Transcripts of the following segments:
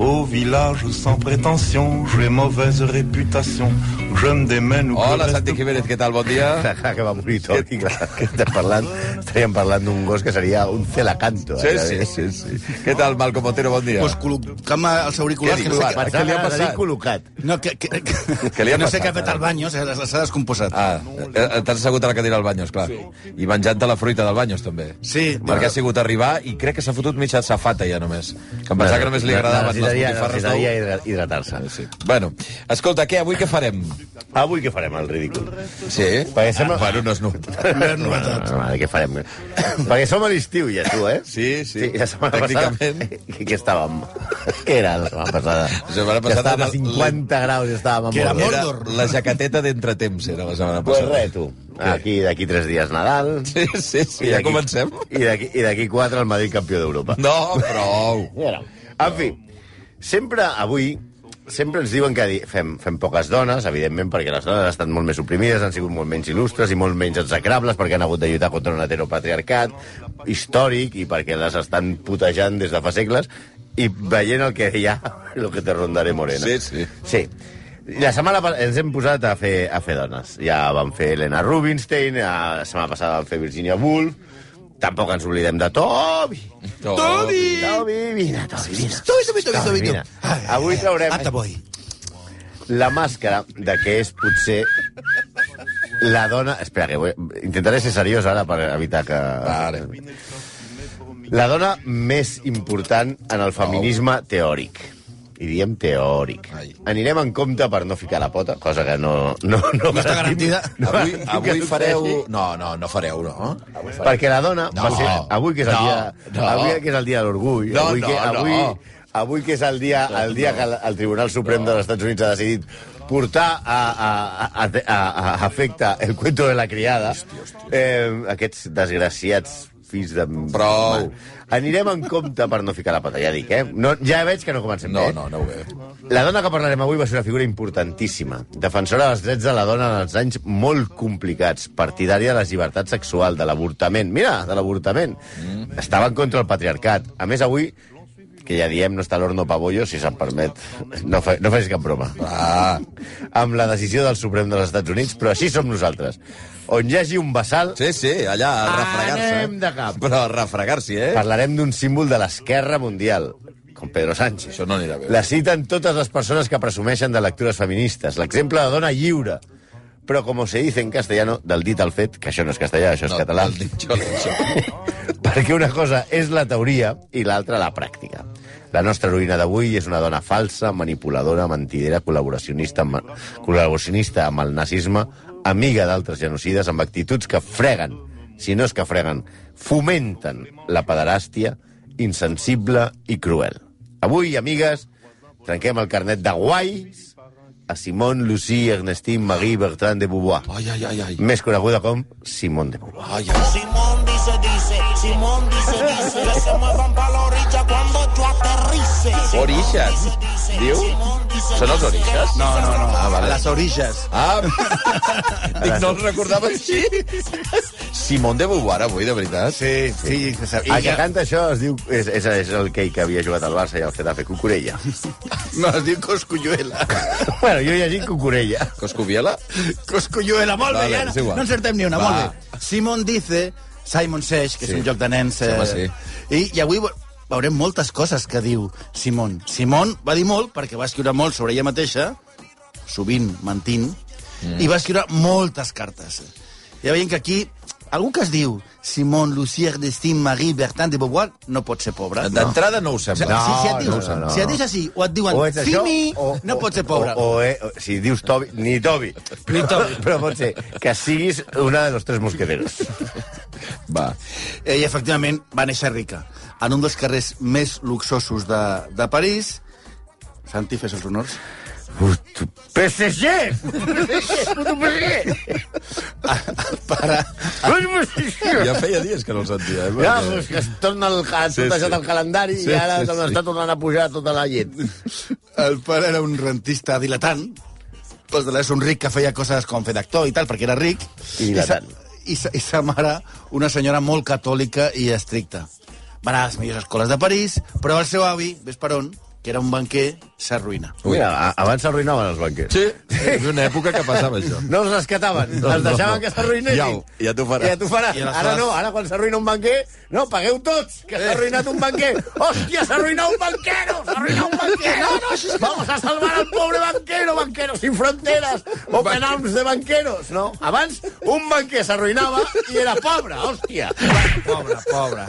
Au village sans prétention, j'ai mauvaise réputation. Je me démène ou que Hola, reste Santi Jiménez, què tal? Bon dia. Clar, que va morir tot, i clar, que estem parlant, estaríem parlant d'un gos que seria un celacanto. eh, Sí, sí, sí, sí. Què tal, Malcom Otero? Bon dia. Pues col·locant-me els auriculars. Què Que dius? no sé Per què li ha passat? col·locat. què- no, que, que, que, Què li ha no sé passat, què ha fet ara? al bany, s'ha s'ha descomposat. Ah, eh, t'has assegut a la cadira al Banyos, clar. I menjant-te la fruita del Banyos, també. Sí, Perquè ha sigut arribar i crec que s'ha fotut mitja safata, ja, només. Que em pensava que només li agradaven les Necessitaria- botifarres necessitaria d'ou. hidra- hidratar-se. Sí. Bueno, escolta, què? Avui què farem? Avui què farem, el ridícul? Sí? Perquè sembla- Bueno, no és novetat. No, no, no, què farem? Perquè som a l'estiu, ja, tu, eh? Sí, sí. la setmana Tècnicament. passada... Què, què estàvem? Què era la setmana passada? La setmana Que passada estàvem era a 50 graus i estàvem a Que era Mordor. Era Mordor. la jaqueteta d'entretemps, era la setmana Pues passada. res, tu. Aquí, d'aquí tres dies Nadal. Sí, sí, sí, ja d'aquí- comencem. I d'aquí i d'aquí quatre el Madrid campió d'Europa. No, prou. Era. En fi, sempre avui sempre ens diuen que di- fem, fem poques dones, evidentment, perquè les dones han estat molt més oprimides, han sigut molt menys il·lustres i molt menys execrables, perquè han hagut de lluitar contra un heteropatriarcat històric i perquè les estan putejant des de fa segles, i veient el que hi ha, lo que te rondaré morena. Sí, sí. Sí. La setmana pas- ens hem posat a fer, a fer dones. Ja vam fer Elena Rubinstein, a- la setmana passada vam fer Virginia Woolf, tampoc ens oblidem de Toby. Tobi! Toby, vine, Toby, vine. Toby, Toby, Toby, Toby, vine. Toby. Avui traurem Ata boy. la màscara de que és potser la dona... Espera, que vull... intentaré ser seriós ara per evitar que... Vale. La dona més important en el feminisme teòric. I diem teòric. Ai. Anirem en compte per no ficar la pota, cosa que no... No, no, està garantida. Avui, garantim que avui succeeixi. fareu... No, no, no fareu, no. Perquè la dona No, va ser... Avui que és el no, dia... no. Avui que és el dia de l'orgull. No, avui no, que, no. avui, avui que és el dia, el dia que el, el Tribunal Suprem dels Estats Units ha decidit portar a, a, a, a, a, a efecte el cuento de la criada, Eh, aquests desgraciats fills de... Prou. Anirem en compte per no ficar la pata, ja dic, eh? No, ja veig que no comencem No, bé. eh? no, aneu bé. La dona que parlarem avui va ser una figura importantíssima, defensora dels drets de la dona en els anys molt complicats, partidària de la llibertat sexual, de l'avortament. Mira, de l'avortament. Mm. Estava en contra del patriarcat. A més, avui, que ja diem, no està l'horno pabollo, si se'n permet. No, fa, no facis cap broma. Ah. Amb la decisió del Suprem dels Estats Units, però així som nosaltres. On hi hagi un vessal, Sí, sí, allà, a refregar-se. eh? Anem de cap. Però a refregar-s'hi, eh? parlarem d'un símbol de l'esquerra mundial, com Pedro Sánchez. Això no anirà bé. La citen totes les persones que presumeixen de lectures feministes. L'exemple de dona lliure. Però, com se dice en castellano, del dit al fet, que això no és castellà, això és no, català, el dic jo, el dic jo. perquè una cosa és la teoria i l'altra la pràctica. La nostra heroïna d'avui és una dona falsa, manipuladora, mentidera, col·laboracionista amb, col·laboracionista amb el nazisme, amiga d'altres genocides, amb actituds que freguen, si no és que freguen, fomenten la pederàstia, insensible i cruel. Avui, amigues, trenquem el carnet de guais a Simone Lucie Ernestine Marie Bertrand de Beauvoir, Ai, ai, ai, ai. més coneguda com Simone de Beauvoir. Ai, ai. Simón dice, dice, Simón dice, dice, que se muevan pa' la orilla cuando yo aterrice. Orixes, diu? Són els orixes? No, no, no. Ah, A vale. les orillas. Ah, dic, no els recordava així. Simón de Beauvoir, avui, de veritat. Sí, sí. que Ah, sap- I el I que ja, canta això es diu... És, és, és el que, que havia jugat al Barça i al Getafe, Cucurella. no, es diu Cosculluela. bueno, jo he llegit Cucurella. Coscubiela? Cosculluela, molt Vale, bé, ja. és igual. No encertem ni una, Va. molt bé. Simon dice, Simon Seix, que Sí. és un joc de nens... eh, Sí, home, sí. I, I avui ve- veurem moltes coses que diu Simon. Simon va dir molt perquè va escriure molt sobre ella mateixa, sovint mentint, mm. i va escriure moltes cartes. Ja veiem que aquí algú que es diu Simon Lucier d'Estim Marie Bertrand de Beauvoir no pot ser pobre. D'entrada no ho O sigui, sembla. si, si, et no, dius, no, no. si et dius així o et diuen O ets això, Simi, o- no o- pots ser pobre. O, o, eh, o, si dius Tobi, ni Tobi. Ni Tobi. Però pot ser que siguis una de los tres mosqueteros. Va. Ella, efectivament, va néixer rica. En un dels carrers més luxosos de, de París... Santi, fes els honors. PSG! Puto PSG! Para. Puto PSG! Ja feia dies que no el sentia, eh? Ja, perquè- doncs que es torna el, ha sí, sí. el calendari sí, i ara sí, sí, sí. està tornant a pujar tota la llet. El pare era un rentista dilatant, pues de l'és un ric que feia coses com fer d'actor i tal, perquè era ric. I dilatant. I sa, i, sa, I sa mare, una senyora molt catòlica i estricta. Va anar a les millors escoles de París, però el seu avi, ves per on, que era un banquer, s'arruïna. Ui. Mira, a- abans s'arruïnaven els banquers. Sí, és una època que passava això. No els rescataven, No, els deixaven no. que s'arruïnessin. Iau, ja t'ho farà. Ja t'ho farà. I aleshores- Eh. Ara no, ara quan s'arruïna un banquer, no, pagueu tots, que s'ha arruïnat un banquer. Hòstia, s'ha arruïnat un banquero, s'ha arruïnat un banquero. No, no, Vamos a salvar al pobre banquero, banqueros sin fronteras, open arms de banqueros, no? Abans, un banquer s'arruïnava i era pobre, hòstia. Pobre, pobre.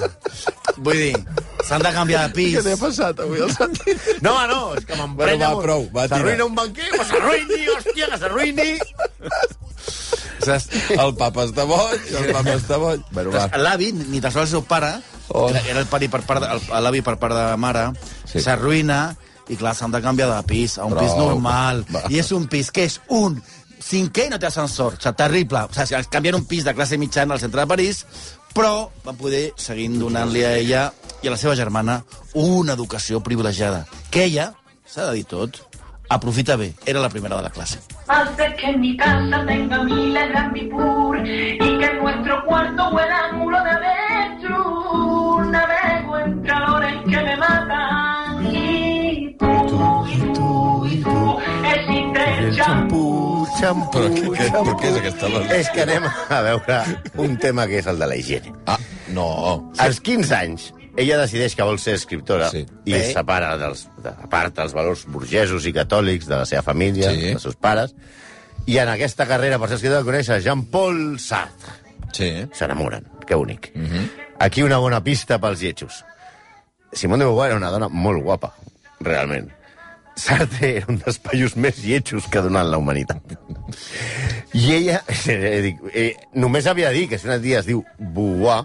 Vull dir, s'han de canviar de pis. passat avui al sentit? No, home, no, és que Bueno, m'emprenya... va, molt. prou, va, tira. S'arruïna un banquer, que s'arruïni, hòstia, que s'arruïni. Saps? El papa està boig, el papa està boig. Bueno, va. Entonces, L'avi, ni tan sols el seu pare, Oh. oh. era, era el pare per part, de- el- l'avi per part de la mare, Sí. s'arruïna i, clar, s'han de canviar de pis a un Prou. pis normal. Va. I és un pis que és un cinquè i no té ascensor. O sigui, terrible. O sigui, es canvien un pis de classe mitjana al centre de París, però van poder seguir donant-li a ella i a la seva germana una educació privilegiada, que ella, s'ha de dir tot, aprofita bé. Era la primera de la clase. Hace que mi casa tenga miles de ambipur y que nuestro cuarto huela a muro de avestruz. Navego en calores que me matan. Y tú, y tú, y tú, existe el champú. xampú, Però què- què- però què és aquesta balada? És que anem a veure un tema que és el de la higiene. Ah, no. Als 15 anys, ella decideix que vol ser escriptora Sí. i es separa dels, de, aparta els valors burgesos i catòlics de la seva família, Sí. dels seus pares, i en aquesta carrera per ser escriptora conèixer Jean-Paul Sartre. Sí. S'enamoren, que bonic. Mm Mhm. -hmm. Aquí una bona pista pels lletjos. Simone de Beauvoir era una dona molt guapa, realment. Sartre era un dels paios més lletjos que ha donat la humanitat. I ella, eh, dic, eh, només havia de dir que si una tia es diu Beauvoir,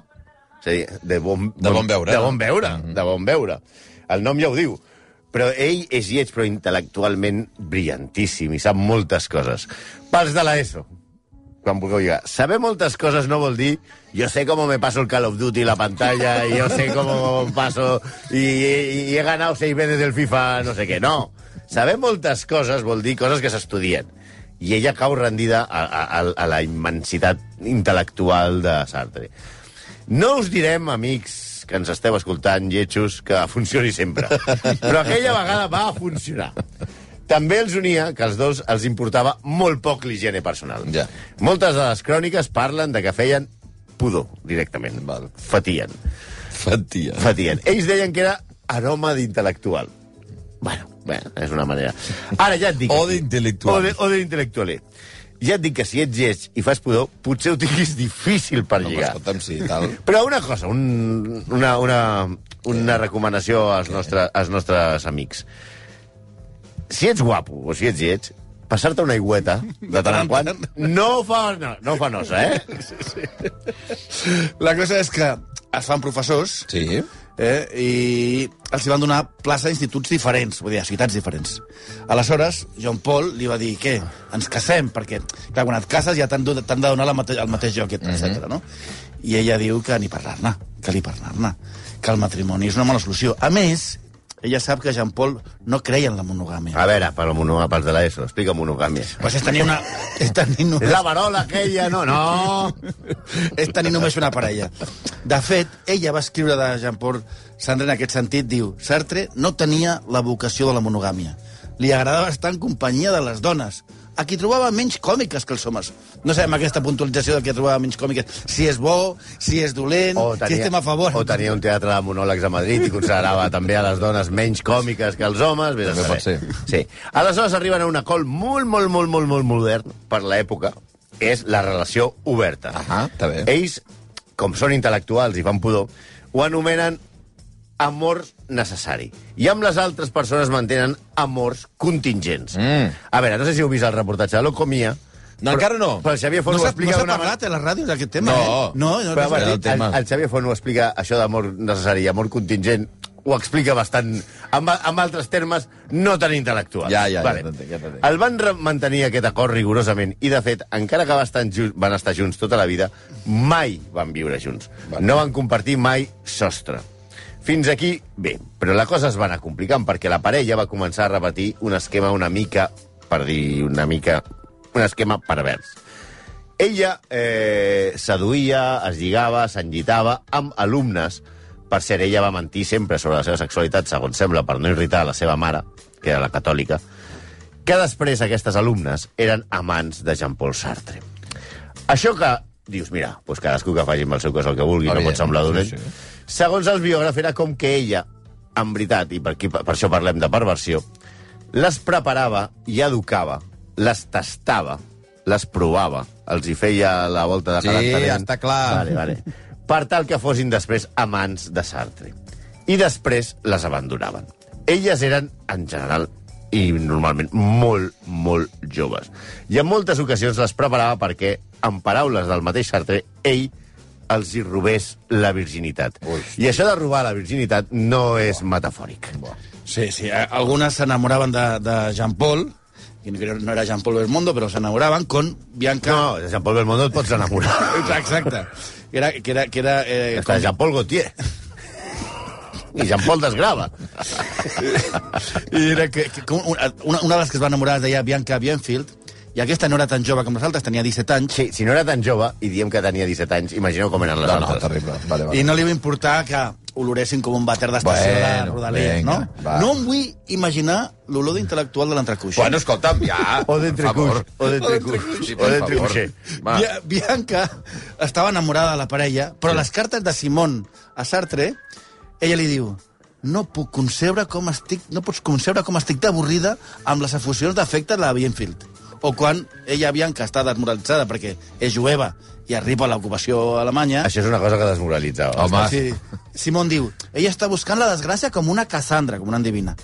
és a dir, de bon, De bon veure, De no? Mhm. bon veure, de bon veure. El nom ja ho diu. Però ell és lleig, però intel·lectualment brillantíssim i sap moltes coses. Pels de l'ESO, quan vulgueu llegar. Saber moltes coses no vol dir yo sé cómo me paso el Call of Duty la pantalla y yo sé cómo paso y, y- y he ganado seis veces el FIFA no sé qué. No. Saber moltes coses vol dir coses que s'estudien. I ella cau rendida a, a, a la immensitat intel·lectual de Sartre. No us direm, amics, que ens esteu escoltant, lletjos, que funcioni sempre. Però aquella vegada va funcionar. També els unia que els dos els importava molt poc l'higiene personal. Ja. Moltes de les cròniques parlen de que feien pudor, directament. Val. Fatien. Fatia. Fatien. Ells deien que era aroma d'intel·lectual. Bueno, bueno, és una manera. Ara ja et dic... O d'intel·lectual. O de- O d'intel·lectual. Ja et dic que si ets lleig i fas pudor, potser ho tinguis difícil per No, però lligar. escolta'm, sí, tal. Però una cosa, un, una, una, una recomanació als, nostre, als nostres amics. Si ets guapo o si ets lleig, passar-te una aigüeta de tant en quant no fa, no, no fa nosa, eh? La cosa és que es fan professors, Sí. eh, i els hi van donar plaça a instituts diferents, vull dir, a ciutats diferents. Aleshores, John Paul li va dir, què, ens casem? Perquè, clar, quan et cases ja t'han do- t'han de donar la mate el mateix lloc, etc. Mm -hmm. no? I ella diu que ni parlar-ne, que ni parlar-ne, que el matrimoni és una mala solució. A més, ella sap que Jean Paul no creia en la monogàmia. A veure, per la monogàmia, pels de l'ESO, explica monogàmia. Pues és tenir una... És tenir una... La varola aquella, no, no. és tenir només una parella. De fet, ella va escriure de Jean-Paul Sartre en aquest sentit, diu, Sartre no tenia la vocació de la monogàmia. Li agradava estar en companyia de les dones, a qui trobava menys còmiques que els homes. No sabem aquesta puntualització de qui trobava menys còmiques. Si és bo, si és dolent, si estem a favor. o tenia un teatre de monòlegs a Madrid i considerava també a les dones menys còmiques que els homes. Vés a També pot saber. Sí. Aleshores arriben a un acord molt, molt, molt, molt, molt modern per l'època. És la relació oberta. Ahà, està bé. Ells, com són intel·lectuals i fan pudor, ho anomenen amor necessari. I amb les altres persones mantenen amors contingents. Mm. A veure, no sé si heu vist el reportatge de l'Ocomia. No, encara no. Però Xavier Font No ho s'ha explica no s'ha d'una manera- parlat a les ràdios aquest tema, No. eh? No, no, però, no, bueno, era el el, tema. el, Xavier Font ho explica, això d'amor necessari i amor contingent, ho ho explica bastant... Amb, amb altres termes, no tan intel·lectuals. Ja, ja, ja t'entenc, ja t'entenc. El van re- mantenir aquest acord rigorosament i, de fet, encara que bastant ju- van estar junts tota la vida, mai van viure junts. Vale. No van compartir mai sostre. Fins aquí, bé, però la cosa es va anar complicant perquè la parella va començar a repetir un esquema una mica, per dir una mica, un esquema pervers. Ella eh, seduïa, es lligava, s'enllitava amb alumnes. Per ser ella va mentir sempre sobre la seva sexualitat, segons sembla, per no irritar la seva mare, que era la catòlica, que després aquestes alumnes eren amants de Jean-Paul Sartre. Això que dius, mira, doncs cadascú que faci amb el seu cos el que vulgui, no Evident, pot semblar sí, dolent. sí. Segons el biògraf, era com que ella, en veritat, i per, aquí, per això parlem de perversió, les preparava i educava, les tastava, les provava, els hi feia la volta de Sí, està clar. Vale, vale. Per tal que fossin després amants de Sartre. I després les abandonaven. Elles eren, en general, i normalment molt, molt joves. I en moltes ocasions les preparava perquè, en paraules del mateix Sartre, ell els hi robés la virginitat. Ui. I això de robar la virginitat no és metafòric. Sí, sí. a- Algunas se enamoraban de, de Jean Paul, que no- no era Jean Paul Belmondo, però se enamoraban con Bianca... No, de Jean-Paul Belmondo et pots enamorar. Exacte. Que era... Que era, que era eh, Està Jean-Paul Gaultier. I Jean-Paul desgrava. I era que, que com una, una, una de les que es va enamorar es deia Bianca Bienfield, i aquesta no era tan jove com les altres, tenia 17 anys, Sí, si no era tan jove i diem que tenia 17 anys, imagineu com eren les No, no, altres. terrible. Vale, vale. i no li va importar que oloressin com un vàter d'estació bueno, de Bueno, Rodalies, vinga, no? va. No em vull imaginar l'olor d'intel·lectual de l'entrecuix. Bueno, escolta'm, ja. O d'entrecuix, per favor. o d'entrecuix, Sí, per o favor. d'entrecuixer. Va. Bia- Bianca estava enamorada de la parella, però les cartes de Simon a Sartre, ella li diu no puc concebre com estic, no pots concebre com estic d'avorrida amb les efusions d'afecte de la Bienfield. O quan ella, Bianca, està desmoralitzada perquè és jueva i arriba a l'ocupació alemanya... Això és una cosa que desmoralitzava. Home. Sí. Simón diu, ella està buscant la desgràcia com una Cassandra, com una endevina,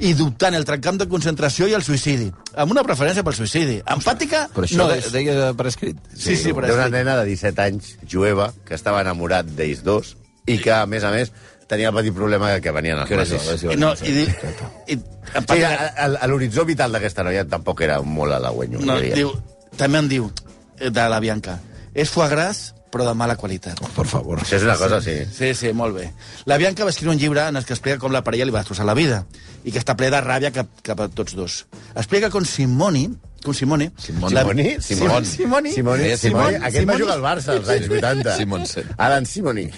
i dubtant el trencamp de concentració i el suïcidi, amb una preferència pel suïcidi. Empàtica Però això no no, és. deia per escrit. Sí, sí, però D'una estic- nena de 17 anys, jueva, que estava enamorat d'ells dos i que, a més a més, tenia el petit problema que venien els Que era nazis. jove, sí. Sí, I Eh, no, i, di- i, a- empàtica, a- a l'horitzó vital d'aquesta noia tampoc era molt halagüenyo. no, jo diria. diu, també en diu, eh, de la Bianca, és foie gras, però de mala qualitat. Per favor. Això és una cosa, sí. Sí, sí, molt bé. La Bianca va escriure un llibre en el que explica com la parella li va destrossar la vida i que està ple de ràbia cap, cap a tots dos. Explica com Simoni, com Simone... Simone. la- Simoni? Simoni. Simoni? Simoni? Eh, Simoni? Simoni? Aquest va jugar al Barça als anys 80. Simonsen. Alan Simoni.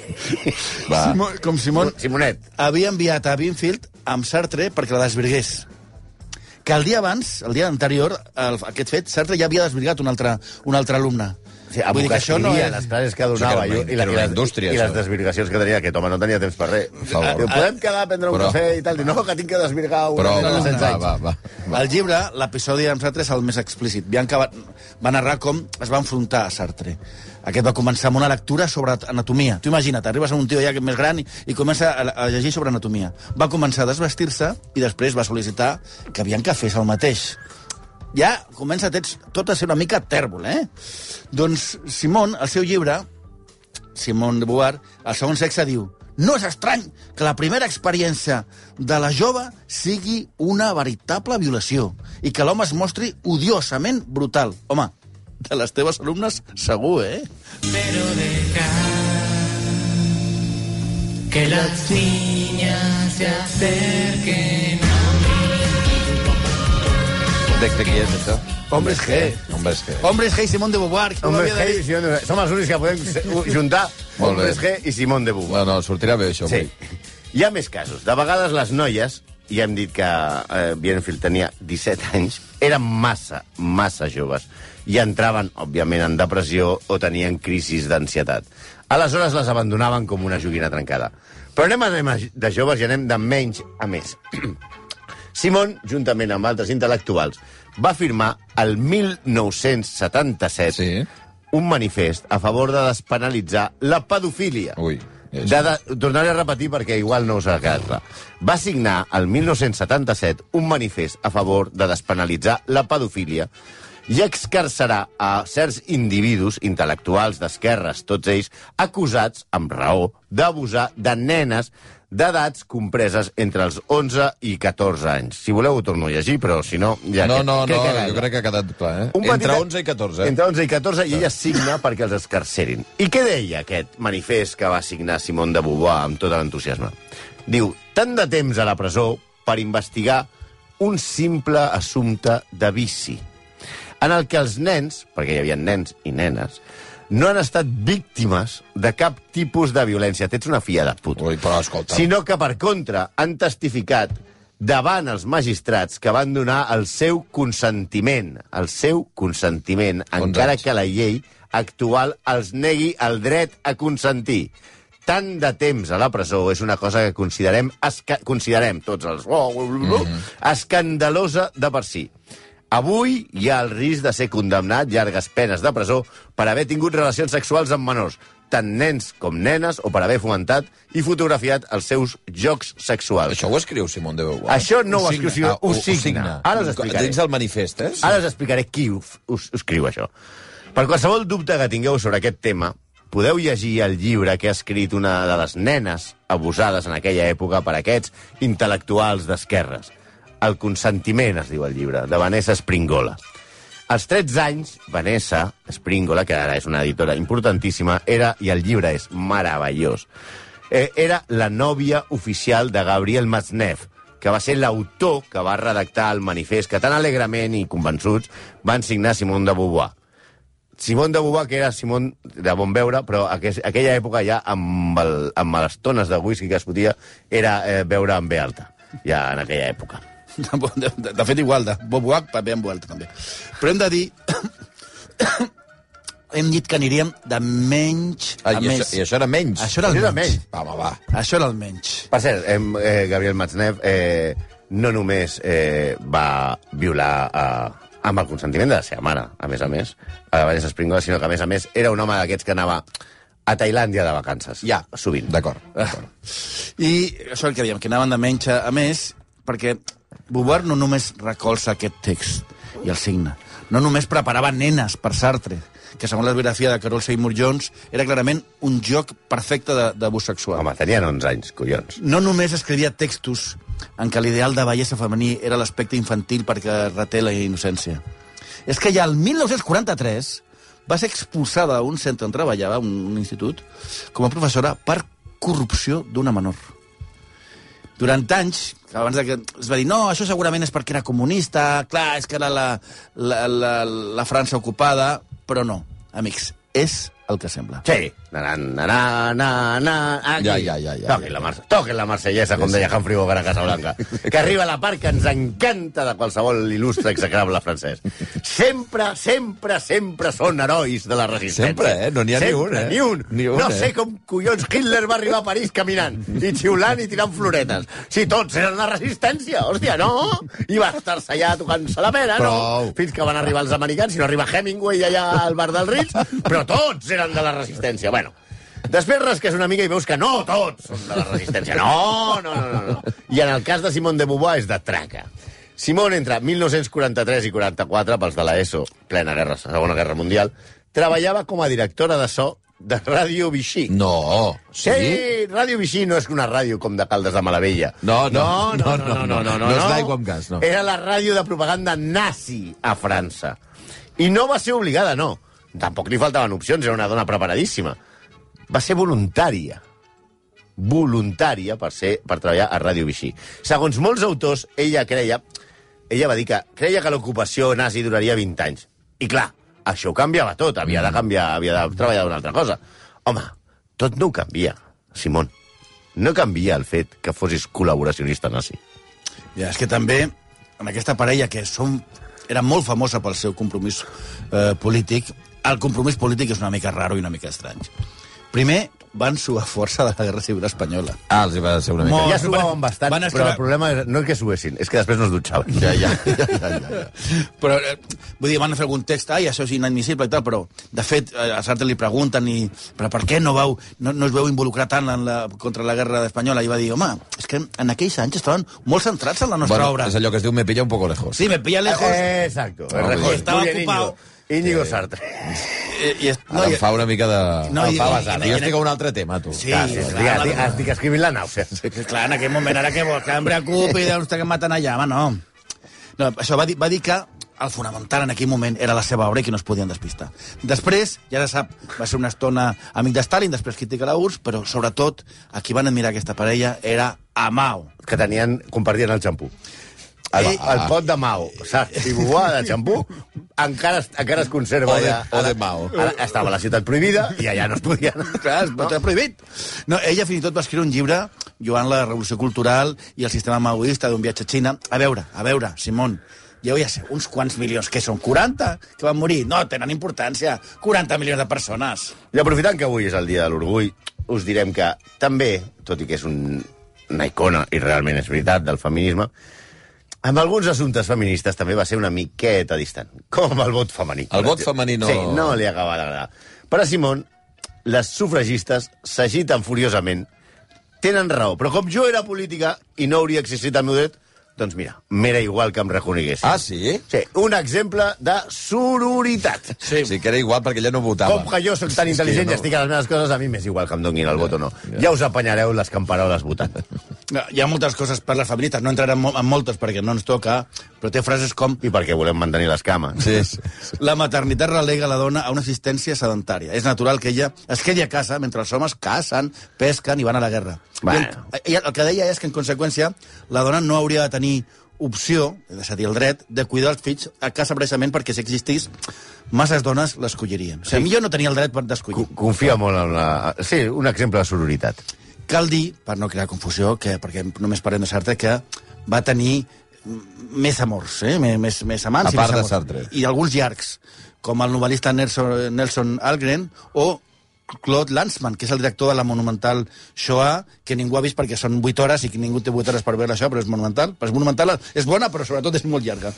Va. Simo, com Simon Simonet. havia enviat a Binfield amb Sartre perquè la desvirgués. Que el dia abans, el dia anterior, el, aquest fet, Sartre ja havia desvirgat un altre, un altre alumne. Sí, Vull dir que això no és... les classes que Això donava que era i, una- i, la, era i, una les, indústria, i les això. desvirgacions que tenia, aquest home no tenia temps per res. favor. Diu, podem quedar a prendre un Però- cafè i tal? Diu, no, que tinc que desvirgar una Però, nena va, de 16 anys. va, va, va. Al llibre, l'episodi amb Sartre és el més explícit. Bianca va, va narrar com es va enfrontar a Sartre. Aquest va començar amb una lectura sobre anatomia. Tu imagina't, arribes a un tio ja que és més gran i, i comença a, a llegir sobre anatomia. Va començar a desvestir-se i després va sol·licitar que Bianca fes el mateix. Ja comença tot, tot a ser una mica tèrbol, eh? Doncs Simon, al seu llibre, Simone de Beauvoir, al segon sexe diu no és estrany que la primera experiència de la jove sigui una veritable violació i que l'home es mostri odiosament brutal. Home, de les teves alumnes, segur, eh? Pero dejar que las niñas se acerquen De, de qui és això? Hombres G. Hombres que... Oh. Hombres G i Simone de Beauvoir. qui ho Hombres havia de G eh, dir? i Simón de Beauvoir. Som els únics que podem se- juntar Molt bé. Hombres G i Simón de Beauvoir. No, no, sortirà bé això Sí. avui. Hi ha més casos. De vegades les noies, ja hem dit que eh, Bienfield tenia 17 anys, eren massa, massa joves i entraven, òbviament, en depressió o tenien crisis d'ansietat. Aleshores les abandonaven com una joguina trencada. Però anem, anem de joves i anem de menys a més. Simon, juntament amb altres intel·lectuals, va firmar el 1977 Sí. un manifest a favor de despenalitzar la pedofília. Ui, és- De, de, tornaré a repetir perquè igual no us ha quedat clar. Va signar el 1977 un manifest a favor de despenalitzar la pedofília i excarcerà a certs individus intel·lectuals d'esquerres, tots ells, acusats, amb raó, d'abusar de nenes d'edats compreses entre els 11 i 14 anys. Si voleu ho torno a llegir, però si no... Ja, No, no, que- no, que- que- jo crec que ha quedat clar, eh? Un petit- Entre 11 i Ah. 14. Entre 11 i 14, i ella signa perquè els escarcerin. I què deia aquest manifest que va signar Simone de Beauvoir amb tot l'entusiasme? Diu, tant de temps a la presó per investigar un simple assumpte de vici, en el que els nens, perquè hi havia nens i nenes, no han estat víctimes de cap tipus de violència. Tens una filla de puta Ui, però escolta... sinó que, per contra, han testificat davant els magistrats que van donar el seu consentiment, el seu consentiment, encara anys. que la llei actual els negui el dret a consentir. Tant de temps a la presó és una cosa que considerem, esca considerem tots els... Oh, blu, blu, blu, escandalosa de per si. Avui hi ha el risc de ser condemnat llargues penes de presó per haver tingut relacions sexuals amb menors, tant nens com nenes, o per haver fomentat i fotografiat els seus jocs sexuals. Això ho escriu Simón de Beauvoir. Això no signa. ho escriu, sinó- Ah, ho signa. Ara us explicaré. Dins del manifest, eh? Ara us explicaré qui ho f- us, us escriu això. Per qualsevol dubte que tingueu sobre aquest tema, podeu llegir el llibre que ha escrit una de les nenes abusades en aquella època per aquests intel·lectuals d'esquerres. El consentiment, es diu el llibre, de Vanessa Springola. Als 13 anys, Vanessa Springola, que ara és una editora importantíssima, era, i el llibre és meravellós, eh, era la nòvia oficial de Gabriel Matzneff, que va ser l'autor que va redactar el manifest que tan alegrement i convençuts van signar Simone de Beauvoir. Simone de Beauvoir, que era Simone de bon veure, però aqu aquella època ja amb, el, amb les tones de whisky que es fotia era eh, veure amb B alta, ja en aquella època. De, de, de fet, igual, de Bob Wack, paper amb Vuelta, també. Però hem de dir... hem dit que aniríem de menys a Ah, i, més. això, I això era menys. Això era el Això era menys. menys. Va, home, va. Això era el menys. Per cert, em, eh, Gabriel Matzneff eh, no només eh, va violar eh, amb el consentiment de la seva mare, a més a més, a Vanessa Springola, sinó que, a més a més, era un home d'aquests que anava a Tailàndia de vacances. Ja. Sovint. D'acord. I això el que dèiem, que anaven de menys a a més, perquè Bouvard no només recolza aquest text i el signa, no només preparava nenes per Sartre, que segons la biografia de Carol Seymour Jones era clarament un joc perfecte de- d'abús sexual. Home, tenien 11 anys, collons. No només escrivia textos en què l'ideal de bellesa femení era l'aspecte infantil perquè reté la innocència. És que ja el 1943 va ser expulsada d'un centre on treballava, un, un institut, com a professora per corrupció d'una menor. Durant anys, que abans de que es va dir no, això segurament és perquè era comunista, clar, és que era la, la, la, la França ocupada, però no, amics, és el que sembla. Sí. Na, na, na, na, na, aquí. Ja, ja, ja, ja. Toquen la, mar toquen la marsellesa, com deia Humphrey Bogart a Casablanca. Que arriba la part que ens encanta de qualsevol il·lustre execrable francès. Sempre, sempre, sempre són herois de la resistència. Sempre, eh? No n'hi ha ni Sempre, un, eh? Ni un. Ni un, no eh? sé com collons Hitler va arribar a París caminant i xiulant i tirant floretes. Si tots eren la resistència, hòstia, no? I va estar-se allà tocant-se la pera, Prou. no? Fins que van arribar els americans, si no arriba Hemingway allà al bar del Ritz, però tots eren de la resistència. Bueno, després rasques una mica i veus que no tots són de la resistència. No, no, no, no. no. I en el cas de Simone de Beauvoir és de traca. Simone, entre 1943 i 44, pels de l'ESO, plena guerra, Segona Guerra Mundial, treballava com a directora de so de Ràdio Vichy. No. Sí, Ràdio Vichy no és una ràdio com de Caldes de Malavella. No, no, no, no, no, no, no, no, no, no és d'aigua amb gas, no. Era la ràdio de propaganda nazi a França. I no va ser obligada, no. Tampoc li faltaven opcions, era una dona preparadíssima. Va ser voluntària. Voluntària per, ser, per treballar a Ràdio Vichy. Segons molts autors, ella creia... Ella va dir que creia que l'ocupació nazi duraria 20 anys. I clar, això ho canviava tot. Havia Mm. de canviar, havia de treballar d'una altra cosa. Home, tot no ho canvia, Simon. No canvia el fet que fossis col·laboracionista nazi. Ja, és que també, en aquesta parella que som, era molt famosa pel seu compromís eh, polític, el compromís polític és una mica raro i una mica estrany. Primer, van suar força de la Guerra Civil Espanyola. Ah, els hi va ser una mica... Molt. Ja suaven bastant, Van van escriure- però el problema era- no és que suessin, és que després no es dutxaven. Ja, ja, ja, ja, ja. Però, eh, vull dir, van fer algun text, ai, això és inadmissible i tal, però, de fet, eh, a Sartre li pregunten i, però per què no, vau, no, no us veu involucrar tant en la, contra la guerra espanyola? I va dir, home, és que en aquells anys estaven molt centrats en la nostra Bueno, obra. és allò que es diu me pilla un poco lejos. Sí, me pilla lejos. Eh, Exacto. No, Rajoy pues, estaba Julianillo. ocupado. Íñigo Sartre. I, i, eh, es- Ara i- em fa una mica de... No, i- em fa i- basada. i- Jo estic a un altre tema, tu. Sí, Clar, sí, clar, estic, estic, clar. estic escrivint la nàusea. Sí. Que, clar, en aquell moment, ara què vols? Que em preocupi, doncs que em maten allà, home, no. No, això va dir, va dir que el fonamental en aquell moment era la seva obra i que no es podien despistar. Després, ja se sap, va ser una estona amic de Stalin, després critica la URSS, però sobretot a qui van admirar aquesta parella era a Mao. Que tenien, compartien el xampú. El, Eh, Ei. ah. el pot de Mao, saps? I bubà de xampú, encara, es- encara es conserva O de- allà. o de Mao. Ara, estava a la ciutat prohibida i allà no es podia anar. Clar, es pot no. prohibit. No, ella fins i tot va escriure un llibre lluant la revolució cultural i el sistema maoista d'un viatge a Xina. A veure, a veure, Simon, ja ja sé, uns quants milions, que són 40, que van morir. No, tenen importància, 40 milions de persones. I aprofitant que avui és el dia de l'orgull, us direm que també, tot i que és un, una icona, i realment és veritat, del feminisme, amb alguns assumptes feministes també va ser una miqueta distant, com el vot femení. El vot femení no- Sí, no li acaba d'agradar. Per a Simon, les sufragistes s'agiten furiosament, tenen raó, però com jo era política i no hauria existit el meu dret, doncs mira, m'era igual que em reconeguessin. Ah, sí? Sí, un exemple de sororitat. Sí. sí que era igual perquè ella no votava. Com que jo sóc tan És que intel·ligent no- i estic a les meves coses, a mi m'és igual que em donguin el vot o no. Ja us apanyareu les camperoles votant. No, Hi ha moltes coses per les feministes, no entrarem mo- en moltes perquè no ens toca, però té frases com I perquè volem mantenir les cames. Sí, sí. la maternitat relega la dona a una existència sedentària. És natural que ella es quedi a casa mentre els homes cacen, pesquen i van a la guerra. Bueno. I el, i el que deia és que, en conseqüència, la dona no hauria de tenir opció, és a dir, el dret, de cuidar els fills a casa precisament perquè si existís, masses dones l'escollirien. O sigui, millor no tenia el dret per d'escollir. Co- Confia molt en la... Sí, un exemple de sororitat. Cal dir, per no crear confusió, que, perquè només parlem de Sartre, que va tenir mm, més amors, eh? més, més, més amants A part de i més Sartre. I alguns llargs, com el novel·lista Nelson, Nelson Algren o Claude Lanzmann, que és el director de la monumental Shoah, que ningú ha vist perquè són 8 hores i que ningú té 8 hores per veure això, però és monumental. Però és monumental, és bona, però sobretot és molt llarga.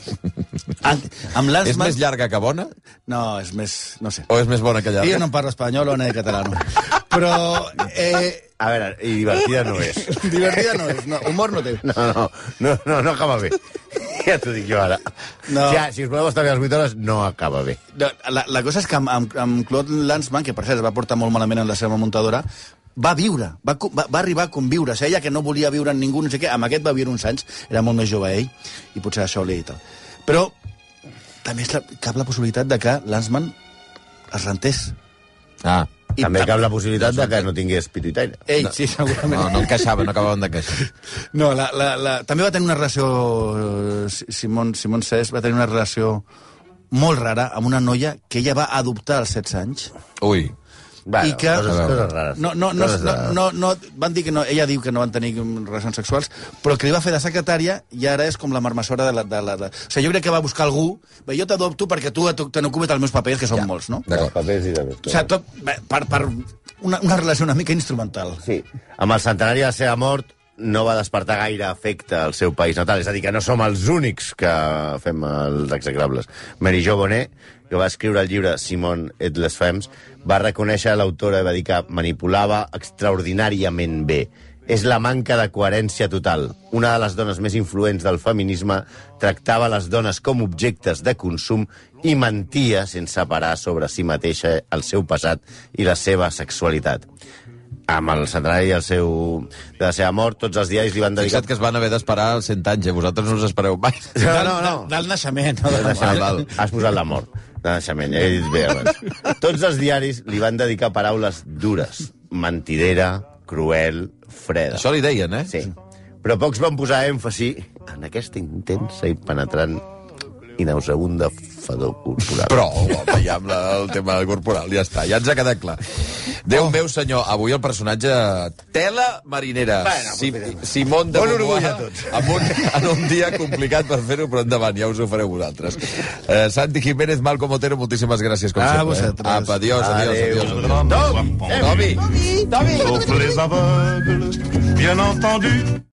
Amb, amb És Lanzmann... més llarga que bona? No, és més... no sé. O és més bona que Jo llarga? no parlo espanyol o ni català, Però... Eh, A veure, i divertida no és. Divertida no és, no, humor no té. No, no, no, no, no acaba bé. Ja t'ho dic jo ara. No. Ja, si us voleu estar bé a les 8 hores, no acaba bé. No, la, la cosa és que amb, amb, amb Claude Lanzmann, que per cert es va portar molt malament en la seva muntadora, va viure, va, co- va, va arribar a conviure. O sigui, ella que no volia viure amb ningú, no sé què, amb aquest va viure uns anys, era molt més jove ell, i potser això li i tal. Però també és la, cap la possibilitat de que Lanzmann es rentés. Ah, I També tam- cap la possibilitat de que no tingués pituitaire. Ell, sí, segurament. no, no encaixava, no acabaven d'encaixar. No, la, la, la... també va tenir una relació... eh, Si- Simon, Simon Cesc va tenir una relació molt rara amb una noia que ella va adoptar als 16 anys. Ui, Bueno, I que- coses, coses rares. No, no, no, Coses no, rares. no, no, van dir que no, ella diu que no van tenir relacions sexuals, però que li va fer de secretària i ara és com la marmessora de la... De la, de... O sigui, jo crec que va buscar algú, bé, jo t'adopto perquè tu et- te n'ocupes dels meus papers, que són molts, no? Els d'acord. papers i O de... sigui, tot, bé, per, per una, una relació una mica instrumental. Sí. Amb el centenari de la seva mort no va despertar gaire afecte al seu país natal. És a dir, que no som els únics que fem els execrables. Mary Jo Bonet, que va escriure el llibre Simon et les femmes, va reconèixer l'autora i va dir que manipulava extraordinàriament bé. És la manca de coherència total. Una de les dones més influents del feminisme tractava les dones com objectes de consum i mentia sense parar sobre si mateixa el seu passat i la seva sexualitat amb el centenari i el seu, de la seva mort, tots els diaris li van dedicar... Fixa't que es van haver d'esperar els 100 anys, eh? vosaltres no us espereu mai. No, no, no. Del naixement. No? De naixement. Has posat la mort. De naixement, he dit bé abans. Tots els diaris li van dedicar paraules dures. Mentidera, cruel, freda. Això li deien, eh? Sí. Però pocs van posar èmfasi en aquesta intensa i penetrant i nauseabunda fedor corporal. Però, home, ja amb la, el tema corporal, ja està, ja ens ha quedat clar. Oh. Déu meu senyor, avui el personatge tela marinera. Bueno, Si, aprofitem. Simon de Bon Beauvoir, orgull a tots. Amb un, en un dia complicat per fer-ho, però endavant, ja us ho fareu vosaltres. Eh, Santi Jiménez, Malcom Otero, moltíssimes gràcies, com A sempre. vosaltres. Eh? Apa, adiós, adiós, Adéu. adiós. adiós. Toby! Sauf les aveugles, bien entendu.